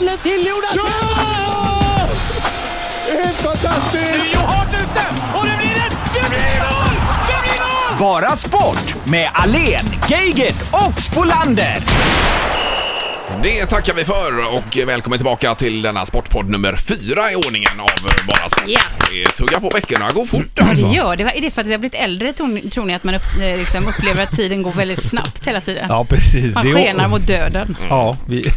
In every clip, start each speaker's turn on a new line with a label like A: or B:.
A: Jonas!
B: Ja! Det är Helt fantastiskt!
C: Rio hårt ute och det blir ett... Det blir mål! Det blir mål!
D: Bara sport med Alen, Geigert och Spolander.
E: Det tackar vi för och välkommen tillbaka till denna sportpodd nummer fyra i ordningen av Bara Sport.
A: Ja.
E: Det tuggar på veckorna, går fort
A: Ja,
E: alltså.
A: det gör det. Är det för att vi har blivit äldre, tror ni, tror ni att man upp, eh, liksom upplever att tiden går väldigt snabbt hela tiden?
F: Ja, precis.
A: Man
F: Det är-
A: skenar mot döden.
F: Ja, vi,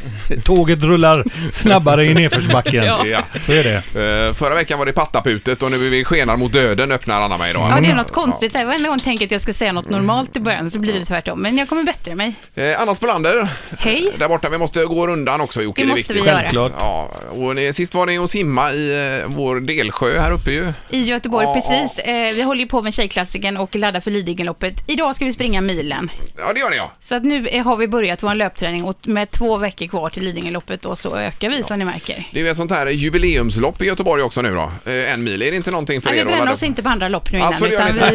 F: tåget rullar snabbare i nedförsbacken.
E: Ja.
F: Så är det.
E: Eh, Förra veckan var det pattaputet och nu är vi skenar mot döden öppnar Anna mig idag.
A: Ja, det är något konstigt där. Varenda gång jag tänker att jag ska säga något normalt i början så blir det tvärtom. Men jag kommer bättre mig.
E: Eh, Anna Spolander,
A: Hej!
E: där borta, vi måste gå rundan också Jocke,
A: Det
E: är
A: måste vi
E: viktigt.
A: göra.
F: Självklart.
E: Ja, och ni, sist var ni och simma i eh, vår delsjö här uppe ju.
A: I Göteborg,
E: Ja,
A: precis. Eh, vi håller ju på med Tjejklassiken och laddar för Lidingöloppet. Idag ska vi springa milen.
E: Ja, det gör ni ja.
A: Så att nu eh, har vi börjat vår löpträning och med två veckor kvar till Lidingöloppet och så ökar vi som ni märker.
E: Det är ju ett sånt här jubileumslopp i Göteborg också nu då. Eh, En mil, är det inte någonting för
A: Nej,
E: er
A: vi
E: att
A: bränner
E: ladda
A: oss
E: upp?
A: inte på andra lopp nu innan,
E: Alltså, det gör
A: utan
E: ni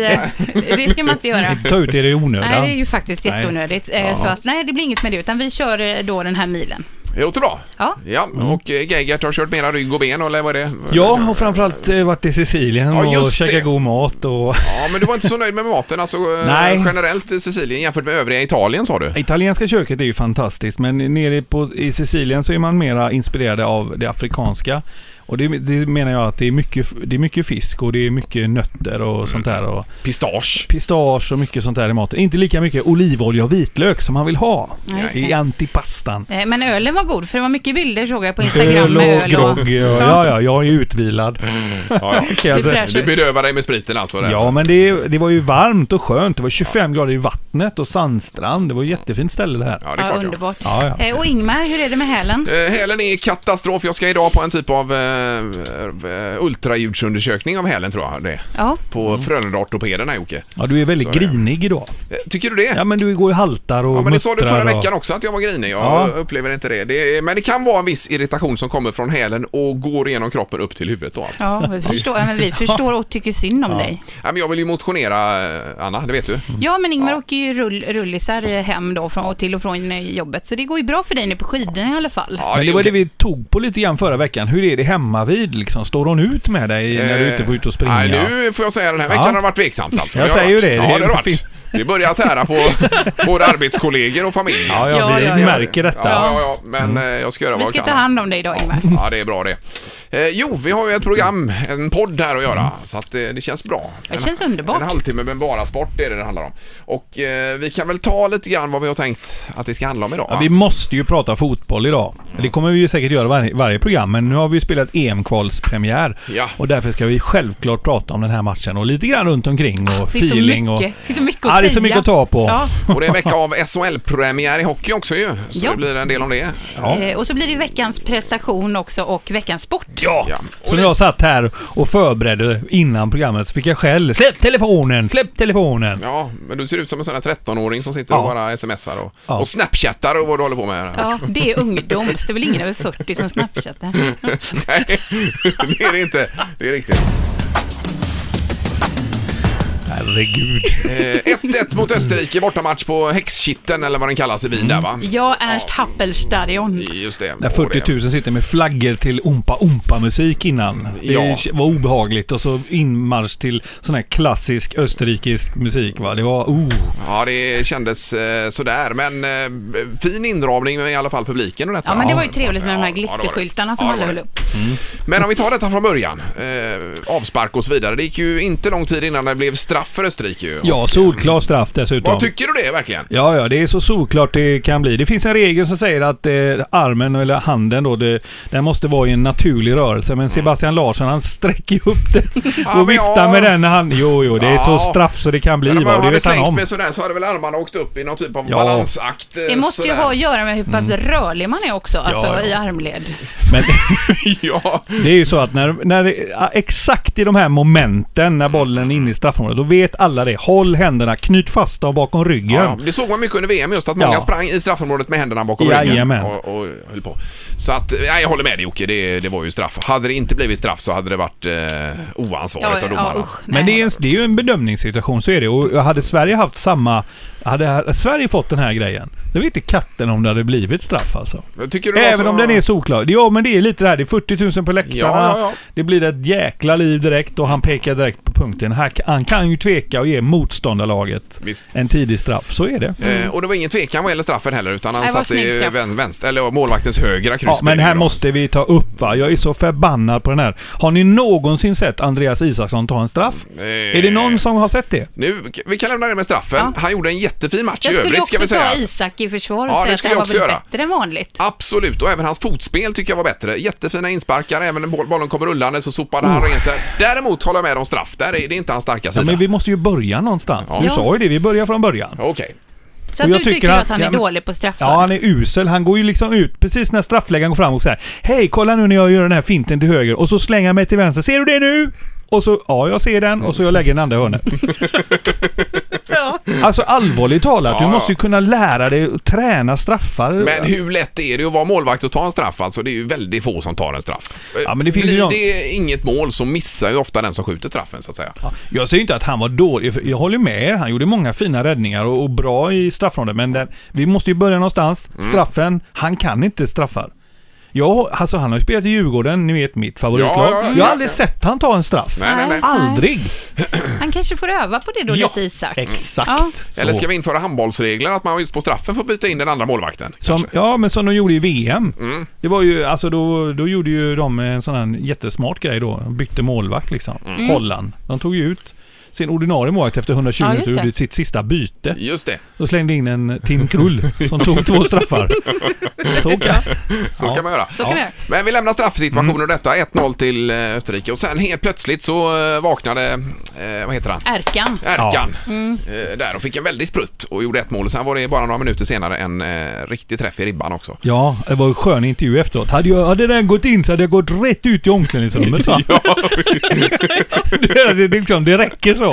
A: vi, eh, det ska man inte göra.
F: Ta ut er i onödan.
A: Nej, det är ju faktiskt
F: Nej.
A: jätteonödigt. Eh, Så att, nej, det blir inget med det, utan vi kör eh, då den här milen.
E: Det låter bra.
A: Ja.
E: Ja, och eh, Geigert har kört mera rygg och ben eller vad är det?
F: Ja, och framförallt eh, varit i Sicilien
E: Ja, just
F: och
E: det.
F: käkat god mat och...
E: Ja, men du var inte så nöjd med maten alltså eh,
F: Nej.
E: generellt i Sicilien jämfört med övriga Italien sa du?
F: Italienska köket är ju fantastiskt, men nere på, i Sicilien så är man mera inspirerad av det afrikanska. Och det, det menar jag att det är, mycket, det är mycket fisk och det är mycket nötter och sånt där. Och
E: Pistage.
F: pistage och mycket sånt där i maten. Inte lika mycket olivolja och vitlök som man vill ha
A: Ja, just
F: i
A: det.
F: antipastan.
A: Eh, Men ölen var god, för det var mycket bilder såg jag på Instagram
F: Öl och
A: med öl och...
F: grogg. och- Ja, ja, jag är utvilad.
E: Mm. Ja,
F: Kan jag
A: Ser
F: säga.
A: fräsch
E: Du bedövar dig med spriten alltså? Där.
F: Ja, men det, det var ju varmt och skönt. Det var 25 grader i vattnet och sandstrand. Det var ett jättefint ställe det här.
E: ja, det är
A: Ja,
E: klart ja.
A: underbart.
F: Ja, ja.
A: Eh, Och Ingmar, hur är det med hälen?
E: Eh, Hälen är katastrof. Jag ska idag på en typ av eh, eh, ultraljudsundersökning av hälen tror jag det är.
A: Ja.
E: På
F: Mm.
E: Frölunda-ortopeden här Jocke.
F: ja du är väldigt
E: Så är det.
F: grinig idag.
E: Eh, Tycker du det?
F: Ja, men du går ju haltar och
E: Ja, men det sa du förra
F: muttrar och-
E: veckan också att jag var grinig. Jag
F: Ja.
E: upplever inte det. det är, men det kan vara en viss irritation som kommer från hälen och går igenom kroppen upp till huvudet då alltså. ja.
A: Ja, vi förstår, ja, men vi förstår och tycker synd om dig.
E: men Jag vill ju motionera, eh, Anna, det vet du.
A: Ja, men Ingmar åker ju rull, rullisar eh, hem då från, och till och från eh, jobbet, så det går ju bra för dig nu på skidorna i alla fall.
E: Ja,
F: Men det
E: är
F: var det
E: okej.
F: vi tog på lite grann förra veckan. Hur är det hemma vid liksom? Står hon ut med dig när du inte får ut och springa?
E: Eh, Nej, nu får jag säga den här veckan
F: Ja.
E: har det varit tveksamt alltså.
F: Jag
E: Det har
F: säger ju
E: varit.
F: det.
E: Ja,
F: Det
E: det har
F: är
E: det varit.
F: fint.
E: Det börjar tära på både arbetskollegor och familj.
F: Ja, ja,
A: Ja,
F: vi
A: ja, ja.
F: märker
E: ja,
F: detta. Mm.
E: ja, ja. men eh, jag ska göra
A: Vi
E: vad
A: ska
E: jag
A: ta
E: kan.
A: hand om dig idag, Ingmar.
E: Ja, det är bra det. Eh, jo, vi har ju ett program, en podd här att
F: Mm.
E: göra, så att eh, det känns bra.
A: Det
E: En-
A: känns underbart.
E: En halvtimme med bara sport, det är det det handlar om. Och eh, vi kan väl ta lite grann vad vi har tänkt att det ska handla om idag.
F: Ja, vi måste ju prata fotboll idag. Det kommer vi ju säkert göra varje, varje program, men nu har vi ju spelat EM-kvalspremiär.
E: Ja.
F: Och därför ska vi självklart prata om den här matchen och lite grann runt omkring och
A: Ah, Det är så
F: feeling
A: mycket,
F: och...
A: det är så mycket att
F: Ja, det är så
A: säga.
F: mycket att ta på.
A: Ja.
E: Och det är en vecka av SHL-premiär i hockey också ju, så
A: Ja.
E: det blir en del om det.
F: Ja.
A: Eh, Och så blir det veckans prestation också och veckans sport.
F: Ja.
E: Ja.
F: Så när jag satt här och förberedde innan programmet så fick jag skäll. Släpp telefonen! Släpp telefonen!
E: Ja, men du ser ut som en sån här 13-åring som sitter och
F: Ja.
E: bara smsar och,
F: Ja.
E: och snapchattar och vad du håller på med. Här.
A: Ja, det är ungdoms. Det är väl ingen över 40 som snapchattar.
E: Nej, det är det inte. Det är riktigt.
F: Herregud.
E: Eh, 1-1 mot Österrike, bortamatch på Häxkitten eller vad den kallas i Wien där va?
A: Ja, Ernst Happelstadion.
E: Just det.
F: Där
E: Och
F: 40
E: det-
F: 000 sitter med flaggor till Ompa Ompa-musik innan. Det
E: Ja.
F: var obehagligt. Och så inmarsch till sån här klassisk österrikisk musik va. Det var... Oh.
E: Ja, det kändes eh, sådär, men eh, fin inramning med i alla fall publiken och detta.
A: Ja, men det var ju trevligt med
E: Ja,
A: de här
E: ja, det var det.
A: glitterskyltarna som
E: Ja, det
A: alla
E: var
A: höll
E: det.
A: upp.
E: Men om vi tar detta från början, eh, avspark och så vidare. Det gick ju inte lång tid innan det blev straff för Österrike ju.
F: Ja, solklar straff dessutom.
E: Vad tycker du det verkligen?
F: Ja, ja, det är så solklart det kan bli. Det finns en regel som säger att eh, armen, eller handen då, det, den måste vara i en naturlig rörelse. Men Sebastian Larsson, han sträcker ju upp den
E: Mm. Ja, men
F: och viftar
E: ja.
F: med den när han... Jo, jo, det är
E: Ja.
F: så straff så det kan bli
E: Men
F: va.
E: om
F: och
E: man
F: Det
E: hade
F: vet han
E: slängt
F: om.
E: med sådär så hade väl armarna åkt upp i någon typ av
F: Ja.
E: balansakt. eh,
A: Det måste ju
E: sådär. Mm.
A: ha att göra med hur pass rörlig man är också, alltså
F: ja.
A: i armled.
F: Men
E: ja.
F: det är ju så att när, när det- ja, exakt i de här momenten när bollen är inne i straffområdet, då vet alla det. Håll händerna, knyt fast dem bakom ryggen.
E: Ja, det såg man mycket under VM just, att många
F: Ja.
E: sprang i straffområdet med händerna bakom ryggen
F: Jajamän.
E: och, och höll på. Så att, nej, jag håller med dig Jocke, det, det var ju straff. Hade det inte blivit straff så hade det varit eh, oansvarigt av domarna.
A: usch, nej.
F: Men det är, en, det är ju en bedömningssituation, så är det. Och hade Sverige haft samma Hade här- Sverige fått den här grejen, det vet inte katten om det hade blivit straff alltså.
E: Men Tycker du det var
F: Även
E: så-
F: om den är solklar. Ja, men det är lite det här. Det är 40 000 på läktarna.
E: Ja, ja, ja.
F: Det blir ett jäkla liv direkt och han pekar direkt på punkten. Här- Han kan ju tveka och ge motståndarlaget
E: Visst.
F: en tidig straff. Så är det.
E: Eh, och det var ingen tvekan vad gäller straffen heller utan han
A: Nej, det var
E: satt i
A: snygg straff.
E: vän, vänster, eller målvaktens högra
F: Ja,
E: kryss.
F: men
E: blir det
F: här
E: då.
F: måste vi ta upp va. Jag är så förbannad på den här. Har ni någonsin sett Andreas Isaksson ta en straff?
E: Eh,
F: Är det någon som har sett det?
E: Nu, vi kan lämna det med straffen.
A: Ja.
E: Han gjorde en jättefin match
A: Jag
E: i
A: skulle
E: övrigt ska
A: också
E: vi säga.
A: ta Isak i försvar och
E: Ja, det
A: säga att
E: skulle
A: det här
E: jag
A: var
E: också
A: väl
E: göra.
A: bättre än vanligt.
E: Absolut, och även hans fotspel tycker jag var bättre. Jättefina insparkar, även när boll- bollen kommer rullande så sopade han rent där. Däremot håller jag med om straff, där är det inte hans starka
F: Mm. Ja,
E: sida.
F: men vi måste ju börja någonstans.
E: Ja.
F: Du
A: Ja.
F: sa ju det, vi börjar från början.
E: Okej.
A: Så att
F: jag
A: du tycker,
F: tycker att-
A: att han
F: ja,
A: är
F: men-
A: dålig på straffar?
F: Ja, han är usel. Han går ju liksom ut precis när straffläggaren går fram och säger Hej, kolla nu när jag gör den här finten till höger och så slänger jag mig till vänster. Ser du det nu? Och så, ja jag ser den och så jag lägger den andra i hörnet. Alltså allvarligt talat,
E: Ja,
F: du
E: ja.
F: måste ju kunna lära dig att träna straffar.
E: Men hur lätt är det att vara målvakt och ta en straff? Alltså det är ju väldigt få som tar en straff. Eh,
F: Ja, men det finns ju
E: Blir
F: de-
E: det inget mål så missar ju ofta den som skjuter straffen så att säga.
F: Ja, Jag säger inte att han var dålig, för jag håller med er. Han gjorde många fina räddningar och, och bra i straffronden. Men den, vi måste ju börja någonstans.
E: Mm.
F: Straffen, han kan inte straffar. Jag, alltså han har ju spelat i Djurgården, ni vet mitt favoritlag.
E: Ja, ja, ja,
F: jag
E: ja.
F: har aldrig sett han ta en straff.
E: Nej, nej, nej.
F: Aldrig!
A: Han kanske får öva på det då
F: Ja,
A: lite Isak.
F: Exakt.
A: Ja.
F: Så.
E: Eller ska vi införa handbollsregler att man just på straffen får byta in den andra målvakten?
F: Som,
E: kanske? Mm.
F: ja, men som de gjorde i VM. Det var ju, alltså då, då gjorde ju de en sån här jättesmart grej då. De bytte målvakt liksom.
E: Mm.
F: Holland. De tog ju ut sin ordinarie målvakt efter 120
A: Ja, just
F: minuter och
A: det.
F: gjorde sitt sista byte.
E: Just det,
F: Och slängde in en Tim Krull som tog två straffar. Så kan,
E: så
F: ja. Mm.
E: kan man göra.
A: Så kan vi göra.
E: Men vi lämnar straffsituationen och detta. 1-0 till eh, Österrike och sen helt plötsligt så eh, vaknade, eh, vad heter han?
A: Erkan.
E: Erkan
A: Mm.
E: eh, där och fick en väldig sprutt och gjorde ett mål. Sen var det bara några minuter senare en eh, riktig träff i ribban också.
F: Ja, det var en skön intervju efteråt. Hade, jag, hade den gått in så hade jag gått rätt ut i omklädningsrummet va? det, det, liksom, det räcker så.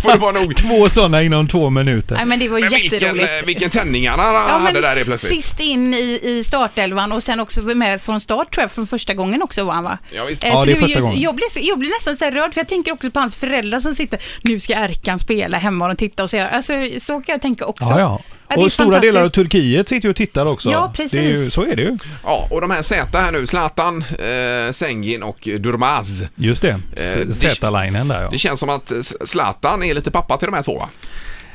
E: Får det vara nog.
F: Två sådana inom två minuter.
A: Nej men det var ju
E: Men vilken, eh,
A: jätteroligt.
E: vilken tändning han hade
A: Ja, men
E: där helt plötsligt.
A: Sist in i, i startelvan och sen också med från start tror jag, från första gången också var han va?
E: Ja, visst.
A: Eh,
F: Ja,
A: så
F: det är
A: var
F: första
A: ju-
F: gången.
A: Jag blir, så- jag blir nästan så här rörd för jag tänker också på hans föräldrar som sitter, nu ska Erkan spela hemma och de tittar och säger, alltså så kan jag tänka också.
F: Ja, ja.
A: det är
F: Och stora
A: fantastiskt.
F: delar av Turkiet sitter ju och tittar också.
A: Ja, precis.
F: Det är ju, så är det ju.
E: Ja, och de här Z här nu, Zlatan, eh, Sengin och Durmaz.
F: Just det.
E: Eh, det-
F: S- Z-linen där ja.
E: Det känns som att eh, Zlatan är lite pappa till de här två va?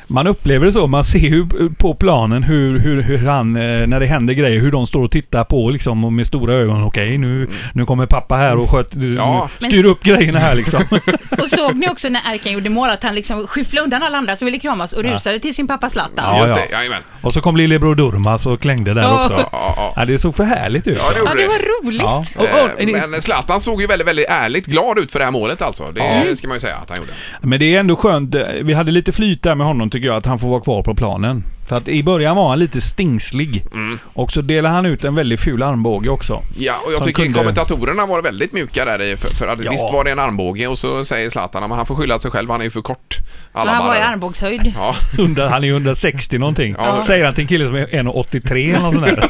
F: Man upplever det så. Man ser ju på planen hur, hur, hur han, eh, när det händer grejer, hur de står och tittar på liksom och med stora ögon. Okej, nu, nu kommer pappa här och sköt, eh,
E: Ja.
F: styr upp grejerna här liksom.
A: Och såg ni också när Erkan gjorde mål att han liksom skyfflade undan alla andra som ville kramas och rusade till sin pappa Zlatan.
F: Ja,
E: Just
F: ja.
E: det, jajamän.
F: och så kom lillebror Durmaz och klängde där
A: Ja.
F: också.
E: Ja, ja.
F: Ja, det såg för härligt ut.
E: Ja, det
A: Ja,
E: gjorde
A: det
E: det.
A: var roligt.
F: Ja. Och,
E: Eh,
F: och, men,
E: Men Zlatan såg ju väldigt, väldigt ärligt glad ut för det här målet alltså. Det ska man ju säga att han gjorde.
F: men det är ändå skönt. eh, Vi hade lite flyt där med honom tycker jag, att han får vara kvar på planen. För att i början var han lite stingslig.
E: Mm.
F: Och så delade han ut en väldigt ful armbåge också.
E: Ja, och jag
F: Som
E: tycker
F: kunde-
E: kommentatorerna var väldigt mjuka där i, för, för att
F: Ja.
E: visst var det en armbåge och så säger Zlatan att han får skylla sig själv, han är ju för kort.
A: Så
E: Alla
A: han var
E: bara-
A: i armbågshöjd.
E: Ja,
F: Under, han är ju 160 någonting.
E: Ja.
F: Säger han till en kille som är 1,83 eller något sånt där.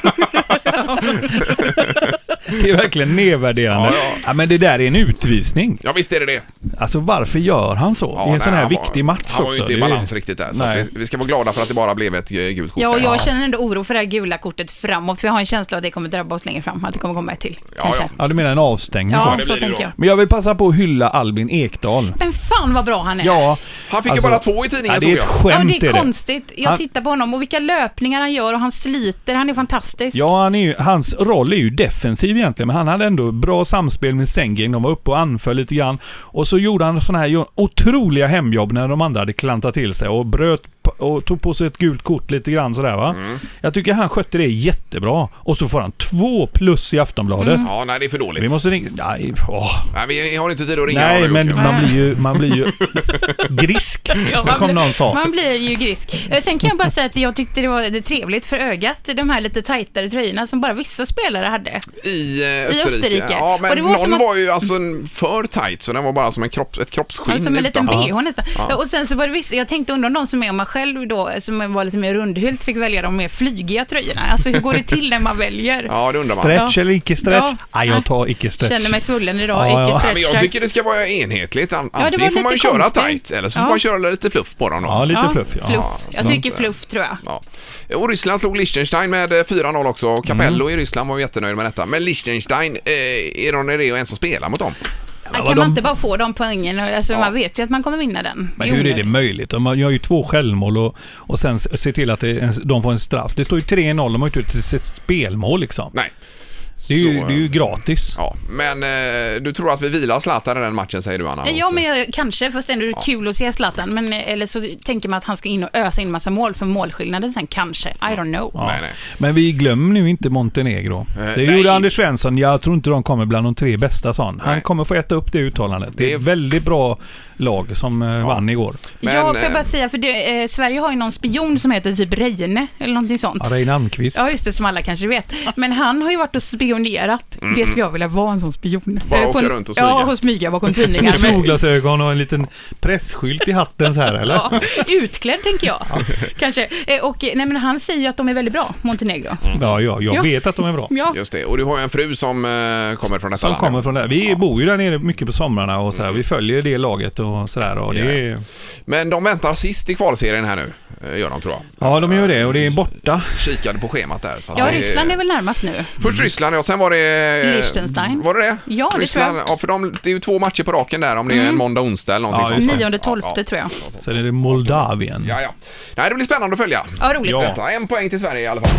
F: det är verkligen nedvärderande.
E: Ja,
F: Ja,
E: ja.
F: men det där är en utvisning.
E: ja visst är det det.
F: Alltså varför gör han så?
E: Ja,
F: I en
E: nej,
F: sån här
E: han var-
F: viktig match också.
E: Han var ju inte i
F: Det är-
E: balans riktigt där. Så att
F: Nej.
E: vi, vi ska vara glada för att det bara blev ett eh, gult kort.
A: Ja, och
E: där.
A: jag känner ändå oro för det här gula kortet framåt, för jag har en känsla av att det kommer drabba oss längre fram, att det kommer komma ett till.
E: Ja,
A: kanske.
E: ja.
F: Ja, du menar en avstängning?
A: Ja,
F: så.
E: det
A: så
E: blir det
A: tänker
E: då.
A: jag.
F: Men jag vill passa på att hylla Albin Ekdal.
A: Men fan vad bra han är!
F: Ja,
E: Han fick
F: Alltså-
E: ju bara två i tidningen
F: ja, det är ett
E: såg jag.
A: Ja,
F: skämt.
A: det är konstigt. Jag
F: Han-
A: tittar på honom och vilka löpningar han gör och han sliter. Han är fantastisk.
F: Ja, han är ju, hans roll är ju defensiv egentligen, men han hade ändå bra samspel med Sengin. De var uppe och anföll lite grann. Och så gjorde han sådana här otroliga hemjobb när de andra hade klantat till sig och bröt p- och tog på sig ett gult kort lite grann sådär va.
A: Mm.
F: Jag tycker han skötte det jättebra. Och så får han två plus i Aftonbladet.
A: Mm.
E: Ja, nej det är för dåligt.
F: Vi måste ringa... Nej, åh.
E: nej, vi har inte tid att ringa
F: Nej
E: honom,
F: men
E: Jocke.
F: man blir ju, man blir ju grisk, som någon sa.
A: Man blir ju grisk. Eh, Sen kan jag bara säga att jag tyckte det var det trevligt för ögat, de här lite tajtare tröjorna som bara vissa spelare hade.
E: I eh, Österrike.
A: Österrike.
E: Ja, men
A: Och det var
E: någon
A: som att-
E: var ju alltså en för tight så den var bara som en kropps, ett kroppsskinn
A: Ja, som en Alltså liten
E: utanpå.
A: bh nästan.
E: Ja.
A: Och sen så var det vissa, jag tänkte undra om de som är om man själv då, som var lite mer rundhylt, fick välja de mer flygiga tröjorna. Alltså hur går det till när man väljer?
E: Ja, det undrar man.
F: Stretch eller icke stretch?
A: Ja.
F: Nej, jag tar icke stretch.
A: Känner mig svullen idag,
F: Ja, ja.
A: icke
E: Ja, men jag
A: stretch.
E: tycker det ska vara enhetligt. An-
A: var
E: Antingen får man ju
A: lite
E: köra
A: konstigt.
E: tight eller så får
A: Ja.
E: man köra lite fluff på dem då.
F: Ja, lite fluff. Ja.
A: fluff.
E: Ja,
A: jag
E: sånt
A: tycker
E: där.
A: fluff tror jag.
E: Ja. Och Ryssland slog Liechtenstein med eh, 4-0 också. Och Capello
F: Mm.
E: i Ryssland var ju jättenöjd med detta. Men Liechtenstein, eh, är de är det ens att spela mot dem?
A: kan
F: vad
A: man
F: de-
A: inte bara få de poängen? Alltså,
E: Ja.
A: Man vet ju att man kommer vinna den.
F: Men hur är det möjligt? De har- gör ju två självmål och, och sen s- ser till att det, är en- de får en straff. Det står ju 3-0, de har ju inte gjort ett s- spelmål liksom.
E: Nej.
F: Det är ju,
E: Så,
F: det är ju gratis.
E: Ja, men eh, du tror att vi vilar Zlatan i den matchen säger du Anna?
A: Eh, Ja, men jag, kanske. Fast ändå är det kul att se Zlatan. Men, eh, eller så tänker man att han ska in och ösa in massa mål för målskillnaden sen kanske. I don't know.
F: Ja.
E: Nej, nej.
F: Men vi glömmer nu inte Montenegro. Det
E: nej.
F: gjorde Anders Svensson. Jag tror inte de kommer bland de tre bästa, sa han. Han
E: Nej.
F: kommer få äta upp det uttalandet. Det
E: Det
F: är
E: är
F: ett väldigt bra lag som eh, vann igår.
E: Men,
A: ja, får jag bara
E: eh,
A: säga, för det, eh, Sverige har ju någon spion som heter typ Reine eller någonting sånt.
F: Ja, Reine Almqvist.
A: Ja, just det, som alla kanske vet. Men han har ju varit och spionerat.
F: Mm,
A: Det skulle jag vilja vara, en sån spion.
E: Bara
A: Eh, på
E: åka
A: en-
E: runt och smyga.
A: Ja, och smyga bakom
F: Med
A: tidningar. Men,
F: Solglasögon och en liten pressskylt i hatten så här, eller?
A: ja, utklädd, tänker jag. Kanske. Eh, Och, eh, nej, men han säger ju att de är väldigt bra, Montenegro.
F: Ja, ja, jag
A: Ja.
F: vet att de är bra.
A: Ja,
E: Just det, och du har ju en fru som eh, kommer från detta
F: Som
E: land.
F: kommer från där. Vi bor ju där nere mycket på somrarna och sådär. Vi följer det laget och sådär. Och det är...
E: Men de väntar sist i kvalserien här nu, eh, gör de tror jag.
F: Ja, de gör det och det är borta.
E: Kikade på schemat där. Så att
A: ja
E: det Eh, är-
A: Ryssland är väl närmast nu.
E: Först Ryssland ja, sen var det...
A: Liechtenstein.
E: Var det det?
A: Ja, det
E: Ryssland,
A: tror
E: Ja, för de, det är ju två matcher på raken där om det är en måndag, onsdag eller
F: Ja,
E: någonting
F: just
E: sånt.
A: 9 12
E: Ja,
A: tror jag.
F: Sen är det Moldavien.
E: Ja, ja. Nej, det blir spännande att följa.
A: Ja, roligt.
F: Ja.
E: Detta, en poäng till Sverige i alla fall.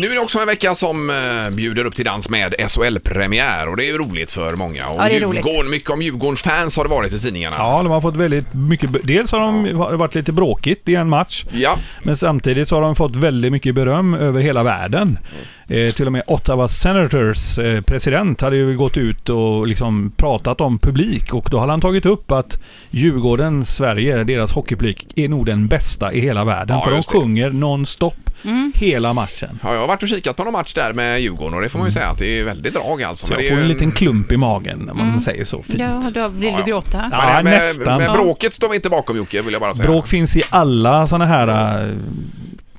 E: Nu är det också en vecka som eh, bjuder upp till dans med SHL-premiär och det är ju roligt för många. Och
A: Ja, det är roligt.
E: Djurgården, mycket om Djurgårdens fans har det varit i tidningarna.
F: Ja, de har fått väldigt mycket... be- Dels har de har det varit lite bråkigt i en match.
E: Ja.
F: Men samtidigt så har de fått väldigt mycket beröm över hela världen.
E: Mm.
F: Eh, till och med Ottawa Senators eh, president hade ju gått ut och liksom pratat om publik och då hade han tagit upp att Djurgården, Sverige, deras hockeypublik är nog den bästa i hela världen.
E: Ja,
F: för de
E: just det.
F: sjunger nonstop hela matchen.
E: Ja, jag har varit och kikat på någon match där med Djurgården och det får man ju säga att det är väldigt drag alltså.
F: Mm. Så
E: Men det
F: jag
E: är
F: får
E: ju
F: en liten klump i magen när man säger så fint.
A: Ja, då vill
E: Ja,
A: du
E: ja.
A: gråta.
E: Men
F: Ja.
E: det här med,
F: nästan.
E: med bråket står vi inte bakom Jocke, vill jag bara säga.
F: Bråk finns i alla sådana här... eh,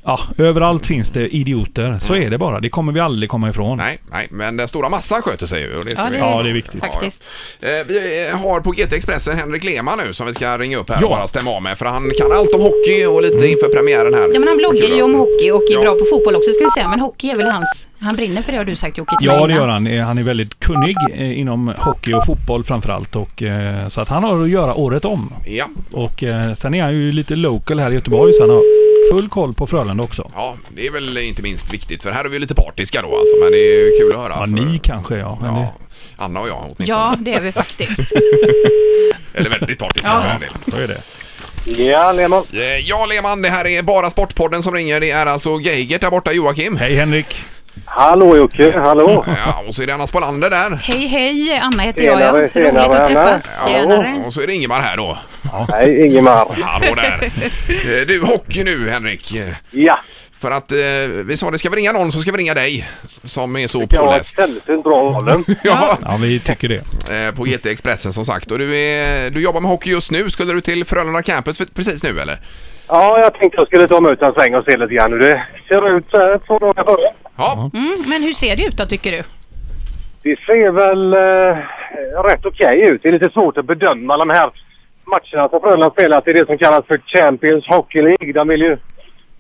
F: Ja, överallt finns det idioter. Så är det bara. Det kommer vi aldrig komma ifrån.
E: Mm. Nej, nej, men den stora massan sköter sig ju. och Det ska
A: Ja,
E: vi-
A: det-
F: Ja, det är viktigt.
A: Faktiskt.
E: Eh, Vi eh, har på GT Expressen Henrik Lehmann nu som vi ska ringa upp här
F: Ja. Mm.
E: och bara stämma av med. För han kan allt om hockey och lite inför premiären här.
A: Ja, men han bloggar ju om hockey och är
E: Ja.
A: bra på fotboll också ska vi säga. Men hockey är väl hans... Han brinner för det har du sagt Jocke till mig
F: Ja, det
A: innan.
F: gör han. Eh, Han är väldigt kunnig eh, inom hockey och fotboll framförallt. Och, eh, så att han har att göra året om.
E: Ja,
F: Och eh, sen är han ju lite local här i Göteborg så han har full koll på Frölunda också.
E: ja, det är väl inte minst viktigt för här är vi ju lite partiska då alltså. Men det är ju kul att höra.
F: Ja,
E: för-
F: ni kanske ja. Men
E: Ja,
F: det,
E: Anna och jag åtminstone.
A: Ja, det är vi faktiskt.
E: Eller väldigt partiska
A: Ja.
E: för den delen.
F: så är det.
B: Ja, Lehmann.
E: Eh, Ja, Lehmann, det här är bara Sportpodden som ringer. Det är alltså Geigert där borta, Joakim.
F: Hej Henrik!
B: Hallå Jocke, hallå!
E: Ja, och så är det Anna Spolander där.
A: Hej, hej! Anna heter jag. Ja.
B: Tjenare,
A: Roligt
B: tjenare,
A: att träffas.
B: Anna.
A: Tjenare.
E: Och så är det Ingemar här då.
B: Hej Ingemar.
E: Hallå där. Eh, Du, hockey nu Henrik. Eh,
B: Ja,
E: För att eh, vi sa det ska vi ringa någon så ska vi ringa dig som är så
B: det kan vara
E: påläst.
B: sällsynt bra valen.
E: Ja,
F: Ja, vi tycker det.
E: eh, på GT Expressen som sagt. Och du, är, du jobbar med hockey just nu. Skulle du till Frölunda Campus för, precis nu eller?
B: Ja, jag tänkte jag skulle ta mig ut en sväng och se lite grann hur det ser ut så här två dagar före.
E: Ja,
A: Mm, men hur ser det ut då, tycker du?
B: Det ser väl eh, rätt okej ut. Det är lite svårt att bedöma de här matcherna som Frölunda spelat i det som kallas för Champions Hockey League. De vill ju,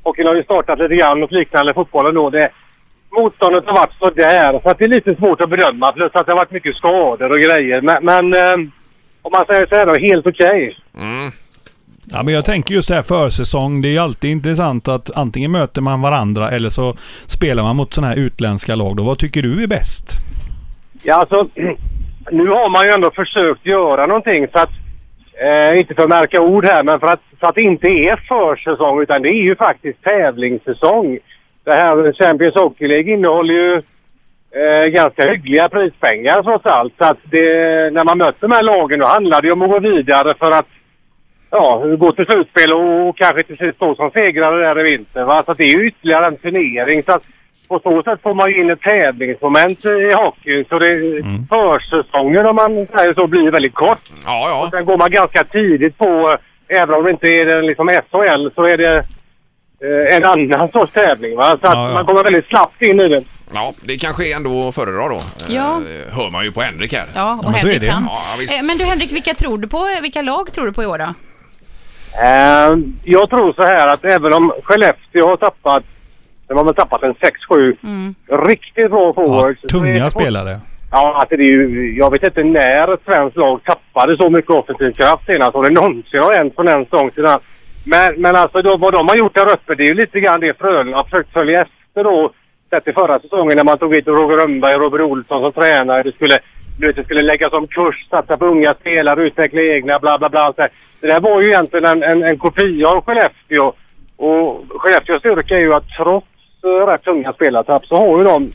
B: hockeyn har ju startat lite grann och liknande fotbollen då. Det, motståndet har varit sådär, så att det är lite svårt att bedöma. Plus att det har varit mycket skador och grejer. Men, men eh, om man säger så här då, helt okej.
F: Ja, men jag tänker just det här försäsong. Det är ju alltid intressant att antingen möter man varandra eller så spelar man mot sådana här utländska lag. Då, vad tycker du är bäst?
B: Ja, alltså, nu har man ju ändå försökt göra någonting så att, eh, inte för att märka ord här, men för att, så att det inte är försäsong utan det är ju faktiskt tävlingssäsong. Det här Champions Hockey League innehåller ju eh, ganska hyggliga prispengar trots allt. Så att det, när man möter de här lagen då handlar det ju om att gå vidare för att ja, gå till slutspel och, och kanske till slut stå som segrare där i vinter. Va? Så att det är ju ytterligare en turnering. Så att på så sätt får man ju in ett tävlingsmoment i hockeyn. Så det,
F: Mm.
B: försäsongen om man säger så blir väldigt kort.
E: Ja, ja.
B: Sen går man ganska tidigt på, eh, även om det inte är den liksom SHL, så är det eh, en annan sorts tävling. Va? Så att
F: Ja, ja.
B: man kommer väldigt snabbt in i den.
E: ja det kanske är ändå att föredra då. Eh,
A: Ja.
E: Hör man ju på Henrik här.
A: Ja, och
F: men så är
A: Henrik
F: det.
A: kan.
E: Ja, visst.
A: Eh, Men du Henrik, vilka tror du på? Vilka lag tror du på i år då?
B: Eh, jag tror så här att även om Skellefteå har tappat, de har väl tappat en 6-7 riktigt bra
F: Ja,
B: forwards. så är det
F: tunga
B: fort-
F: spelare.
B: Ja, alltså det är ju, jag vet inte när ett svenskt lag tappade så mycket offensiv kraft senast. Om det någonsin har hänt från en säsong till en annan. Men, men alltså då, vad de har gjort där uppe, det är ju lite grann det Frölunda har försökt följa efter då. Sett i förra säsongen när man tog hit Roger Rönnberg och Robert Olsson som tränare. Det skulle, du vet, det skulle läggas om kurs, satsa på unga spelare, utveckla egna, bla bla bla. allt det här. Det där var ju egentligen en, en, en kopia av Skellefteå. Och Skellefteås styrka är ju att trots eh, rätt tunga spelartapp så har ju de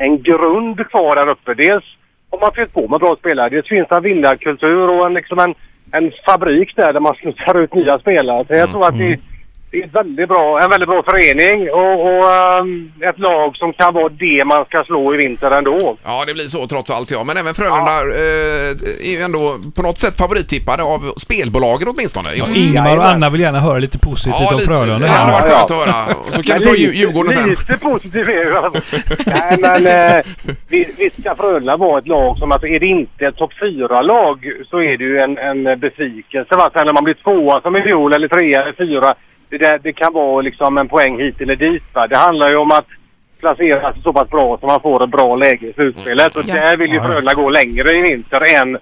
B: en grund kvar där uppe. Dels har man fyllt på med bra spelare. Dels finns det en vinnarkultur och en, liksom en, en fabrik där, där man slussar ut nya spelare. Så jag tror att det, det är ett väldigt bra, en väldigt bra förening och, och ehm, ett lag som kan vara det man ska slå i vinter ändå.
E: Ja, det blir så trots allt ja. Men även Frölunda eh, är ju ändå på något sätt favorittippade av spelbolagen åtminstone. Ja,
F: Ingmar och Anna vill gärna höra lite positivt om Mm. Frölunda.
E: Det hade
F: Ja.
E: varit skönt att höra. Och Så kan du
B: Men
E: ta
B: lite-
E: Dju- Djurgården sen.
B: Lite positiv är jag i alla fall. Nej, men eh, vi- visst ska Frölunda vara ett lag som, alltså är det inte ett topp 4-lag så är det ju en, en besvikelse. Va? Sen när man blir tvåa som i fjol eller trea eller fyra, det, där, det kan vara liksom en poäng hit eller dit. Va? Det handlar ju om att placera sig så pass bra så man får ett bra läge i slutspelet. Och
A: Ja.
B: där vill ju
F: Ja.
B: Frölunda gå längre i vinter än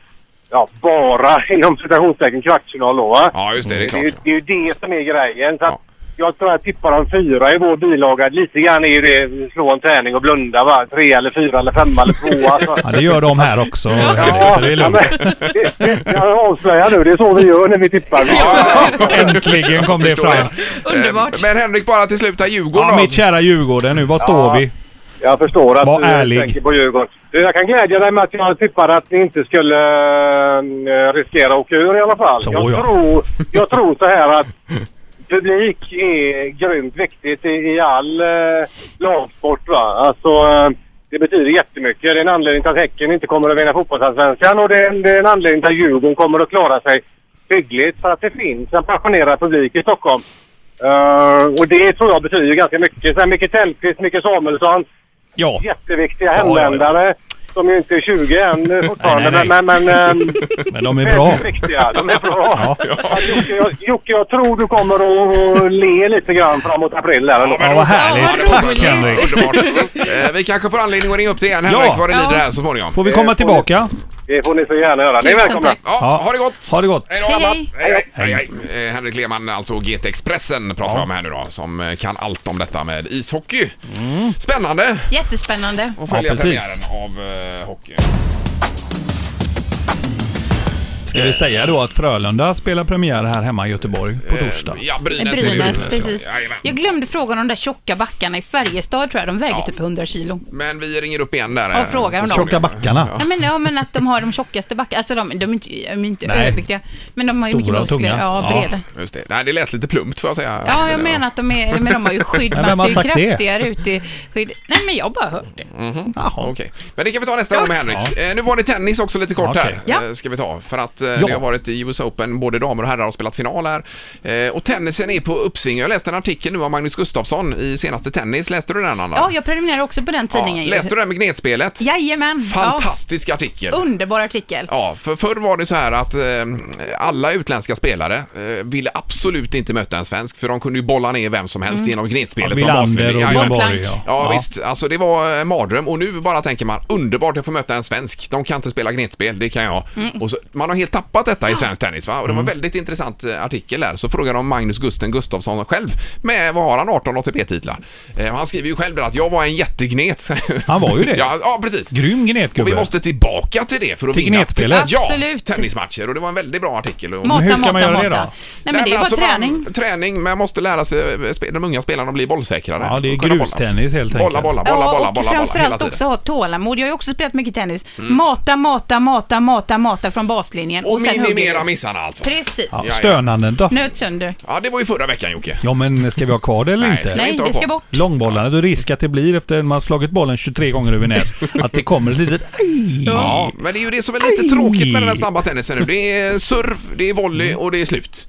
B: Ja, bara inom citationstecken kvartsfinal då va? Mm.
E: Ja, just det. Det är
B: Det är, ju,
E: klart.
B: det är ju det som är grejen. Så att
E: Ja.
B: Jag tror jag tippar en fyra i vår bilaga. Lite grann är ju det slå en tärning och blunda va. Tre eller fyra eller femma eller tvåa. Så.
F: Ja, det gör de här också. Så det är
B: ja,
F: lugnt.
B: men, det, det, jag avslöjar nu. Det är så vi gör när vi tippar.
E: Ja, ja, ja.
F: Äntligen kom det
E: Förstår
F: fram.
E: jag.
A: Underbart.
E: Eh, Men Henrik, bara till slut här, Djurgården
F: Ja,
E: då.
F: mitt kära Djurgården nu, var står
B: Ja.
F: vi?
B: Jag förstår att
F: Var
B: du
F: ärlig.
B: tänker på Djurgården. Du, jag kan glädja dig med att jag tippade att ni inte skulle eh, riskera att åka ur i alla fall.
F: Så,
B: jag,
F: ja.
B: tror, jag tror så här att publik är grymt viktigt i, i all eh, lagsport. Va? Alltså, eh, det betyder jättemycket. Det är en anledning till att Häcken inte kommer att vinna fotbollsallsvenskan och det är, en, det är en anledning till att Djurgården kommer att klara sig hyggligt för att det finns en passionerad publik i Stockholm. Eh, och det tror jag betyder ganska mycket. Sen Micke Tellqvist, Micke Samuelsson,
F: Ja.
B: jätteviktiga
F: ja, ja.
B: hemvändare. som ju inte är 20 än eh, fortfarande,
F: Nej, nej, nej.
B: men... men, men ehm,
F: Men de är bra.
B: väldigt viktiga. De är bra. Att Jocke, jag, Jocke, jag tror du kommer att le lite grann framåt april. Där,
E: Ja, men
F: Ja,
E: då
F: vad
E: så.
F: härligt.
E: Ja, det var
F: Tack,
E: skönt.
F: Henrik.
E: Underbart. Eh, Vi kanske får anledning att ringa upp dig igen,
F: Ja.
E: Henrik, vad det
A: Ja.
E: lider här så småningom.
F: Får vi komma tillbaka?
B: Det får ni så gärna göra. Ni är
A: Tusen
B: välkomna.
A: tack.
E: Ja,
F: Ja.
E: ha det gott!
F: Ha det gott.
E: Hej då,
A: Hej,
E: Emma.
A: hej.
E: hej, hej, hej. Eh, Henrik Lehmann, alltså GT Expressen pratar vi om här nu då, som eh, kan allt om detta med ishockey. Spännande
A: Jättespännande.
E: att följa
F: Mm. precis.
E: premiären av eh, hockey.
F: Ska vi säga då att Frölunda spelar premiär här hemma i Göteborg på torsdag?
E: Eh, Ja, Brynäs, är det ju.
A: Brynäs, precis.
E: Jajamän.
A: Jag glömde frågan om de där tjocka backarna i Färjestad tror jag. De väger
E: Ja.
A: typ 100 kilo.
E: Men vi ringer upp igen där.
A: Ja,
E: eh,
A: fråga om
E: så
A: dem.
F: Tjocka
E: småningom.
F: backarna.
A: Nej, men, ja, men att de har de tjockaste backarna. Alltså de, de är inte, de är inte
F: Nej.
A: överviktiga. Men de har ju mycket
F: Stora och
A: muskler.
F: tunga.
A: Ja,
F: Ja.
A: breda.
E: Just det. Nej, det lät lite plumpt får jag säga.
A: Ja, jag menar att de är, men de har ju skydd.
F: Men
A: Man
F: vem
A: ser
F: har
A: ju
F: sagt det?
A: kraftigare ut i skydd. Nej, men jag bara hörde.
E: Okej, men det kan vi ta nästa gång med Henrik. Eh, nu var det tennis också lite kort
F: Okej.
E: här.
A: Ja.
E: eh, Ska vi ta. För att eh, det har varit i US Open, både damer och herrar har spelat final här. Eh, och tennisen är på uppsving. Jag läste en artikel nu av Magnus Gustafsson i senaste tennis. Läste du den Anna?
A: Ja, jag prenumererar också på den tidningen. ju.
E: Läste du den med gnetspelet?
A: Jajamän.
E: Fantastisk artikel.
A: Ja, underbar artikel.
E: Ja, för förr var det så här att eh, alla utländska spelare eh, ville absolut inte möta en svensk för de kunde ju bolla ner vem som
A: Mm.
E: helst genom
F: Ja,
E: gnetspelet. från
F: Wilander
E: baslinen.
F: och
E: Jajamän.
F: Göteborg.
A: Ja,
E: Ja, visst, alltså det var en mardröm och nu bara tänker man underbart att få möta en svensk. De kan inte spela gnetspel, det kan jag.
F: Mm.
E: Och så, man har helt tappat detta i svensk tennis va? Och det var en väldigt intressant eh, artikel där. Så frågar de Magnus Gusten Gustafsson själv med, vad har han, 18 ATP-titlar? Eh, han skriver ju själv där att jag var en jättegnet.
F: Han var ju det.
E: ja, ja, precis.
F: Grym
E: Och vi
F: gnetgubbe.
E: måste tillbaka till det för att
F: Till
E: vinna.
F: gnetspelet?
E: Ja,
A: Absolut.
E: tennismatcher och det var en väldigt bra artikel. Och...
A: Mata,
F: hur ska
A: mata,
F: man göra
A: mata.
F: det då?
A: Nej, men det är bara
E: alltså, man-
A: träning.
E: träning, men man måste lära sig eh, spe- de unga spelarna att bli bollsäkrare.
F: Ja, det är
E: Och kunna bolla.
F: grustennis helt
E: Bolla,
F: enkelt.
E: bolla, bolla, bolla,
A: och
E: bolla, bolla hela
A: framförallt
E: tiden.
A: också ha tålamod. Jag har ju också spelat mycket tennis. Mata, mata, mata, mata, mata från sängen och,
E: Och
A: sen hugger
E: minimera
A: du.
E: missarna alltså.
A: Precis.
F: Ja,
E: ja.
F: stönanden då?
A: Nöt sönder.
E: Ja, det var ju förra veckan Jocke.
F: Ja, men ska vi ha kvar det eller
E: Nej,
F: inte?
E: ska vi
A: Nej,
E: inte ha
A: det ska
E: på.
A: bort.
F: Långbollarna, du risk att det blir efter man har slagit bollen 23 gånger över nät, att det kommer ett litet aj.
E: Ja, men det är ju det som är lite
F: Aj!
E: tråkigt med den här snabba tennisen nu. Det är surf, det är volley
F: Mm.
E: och det är slut.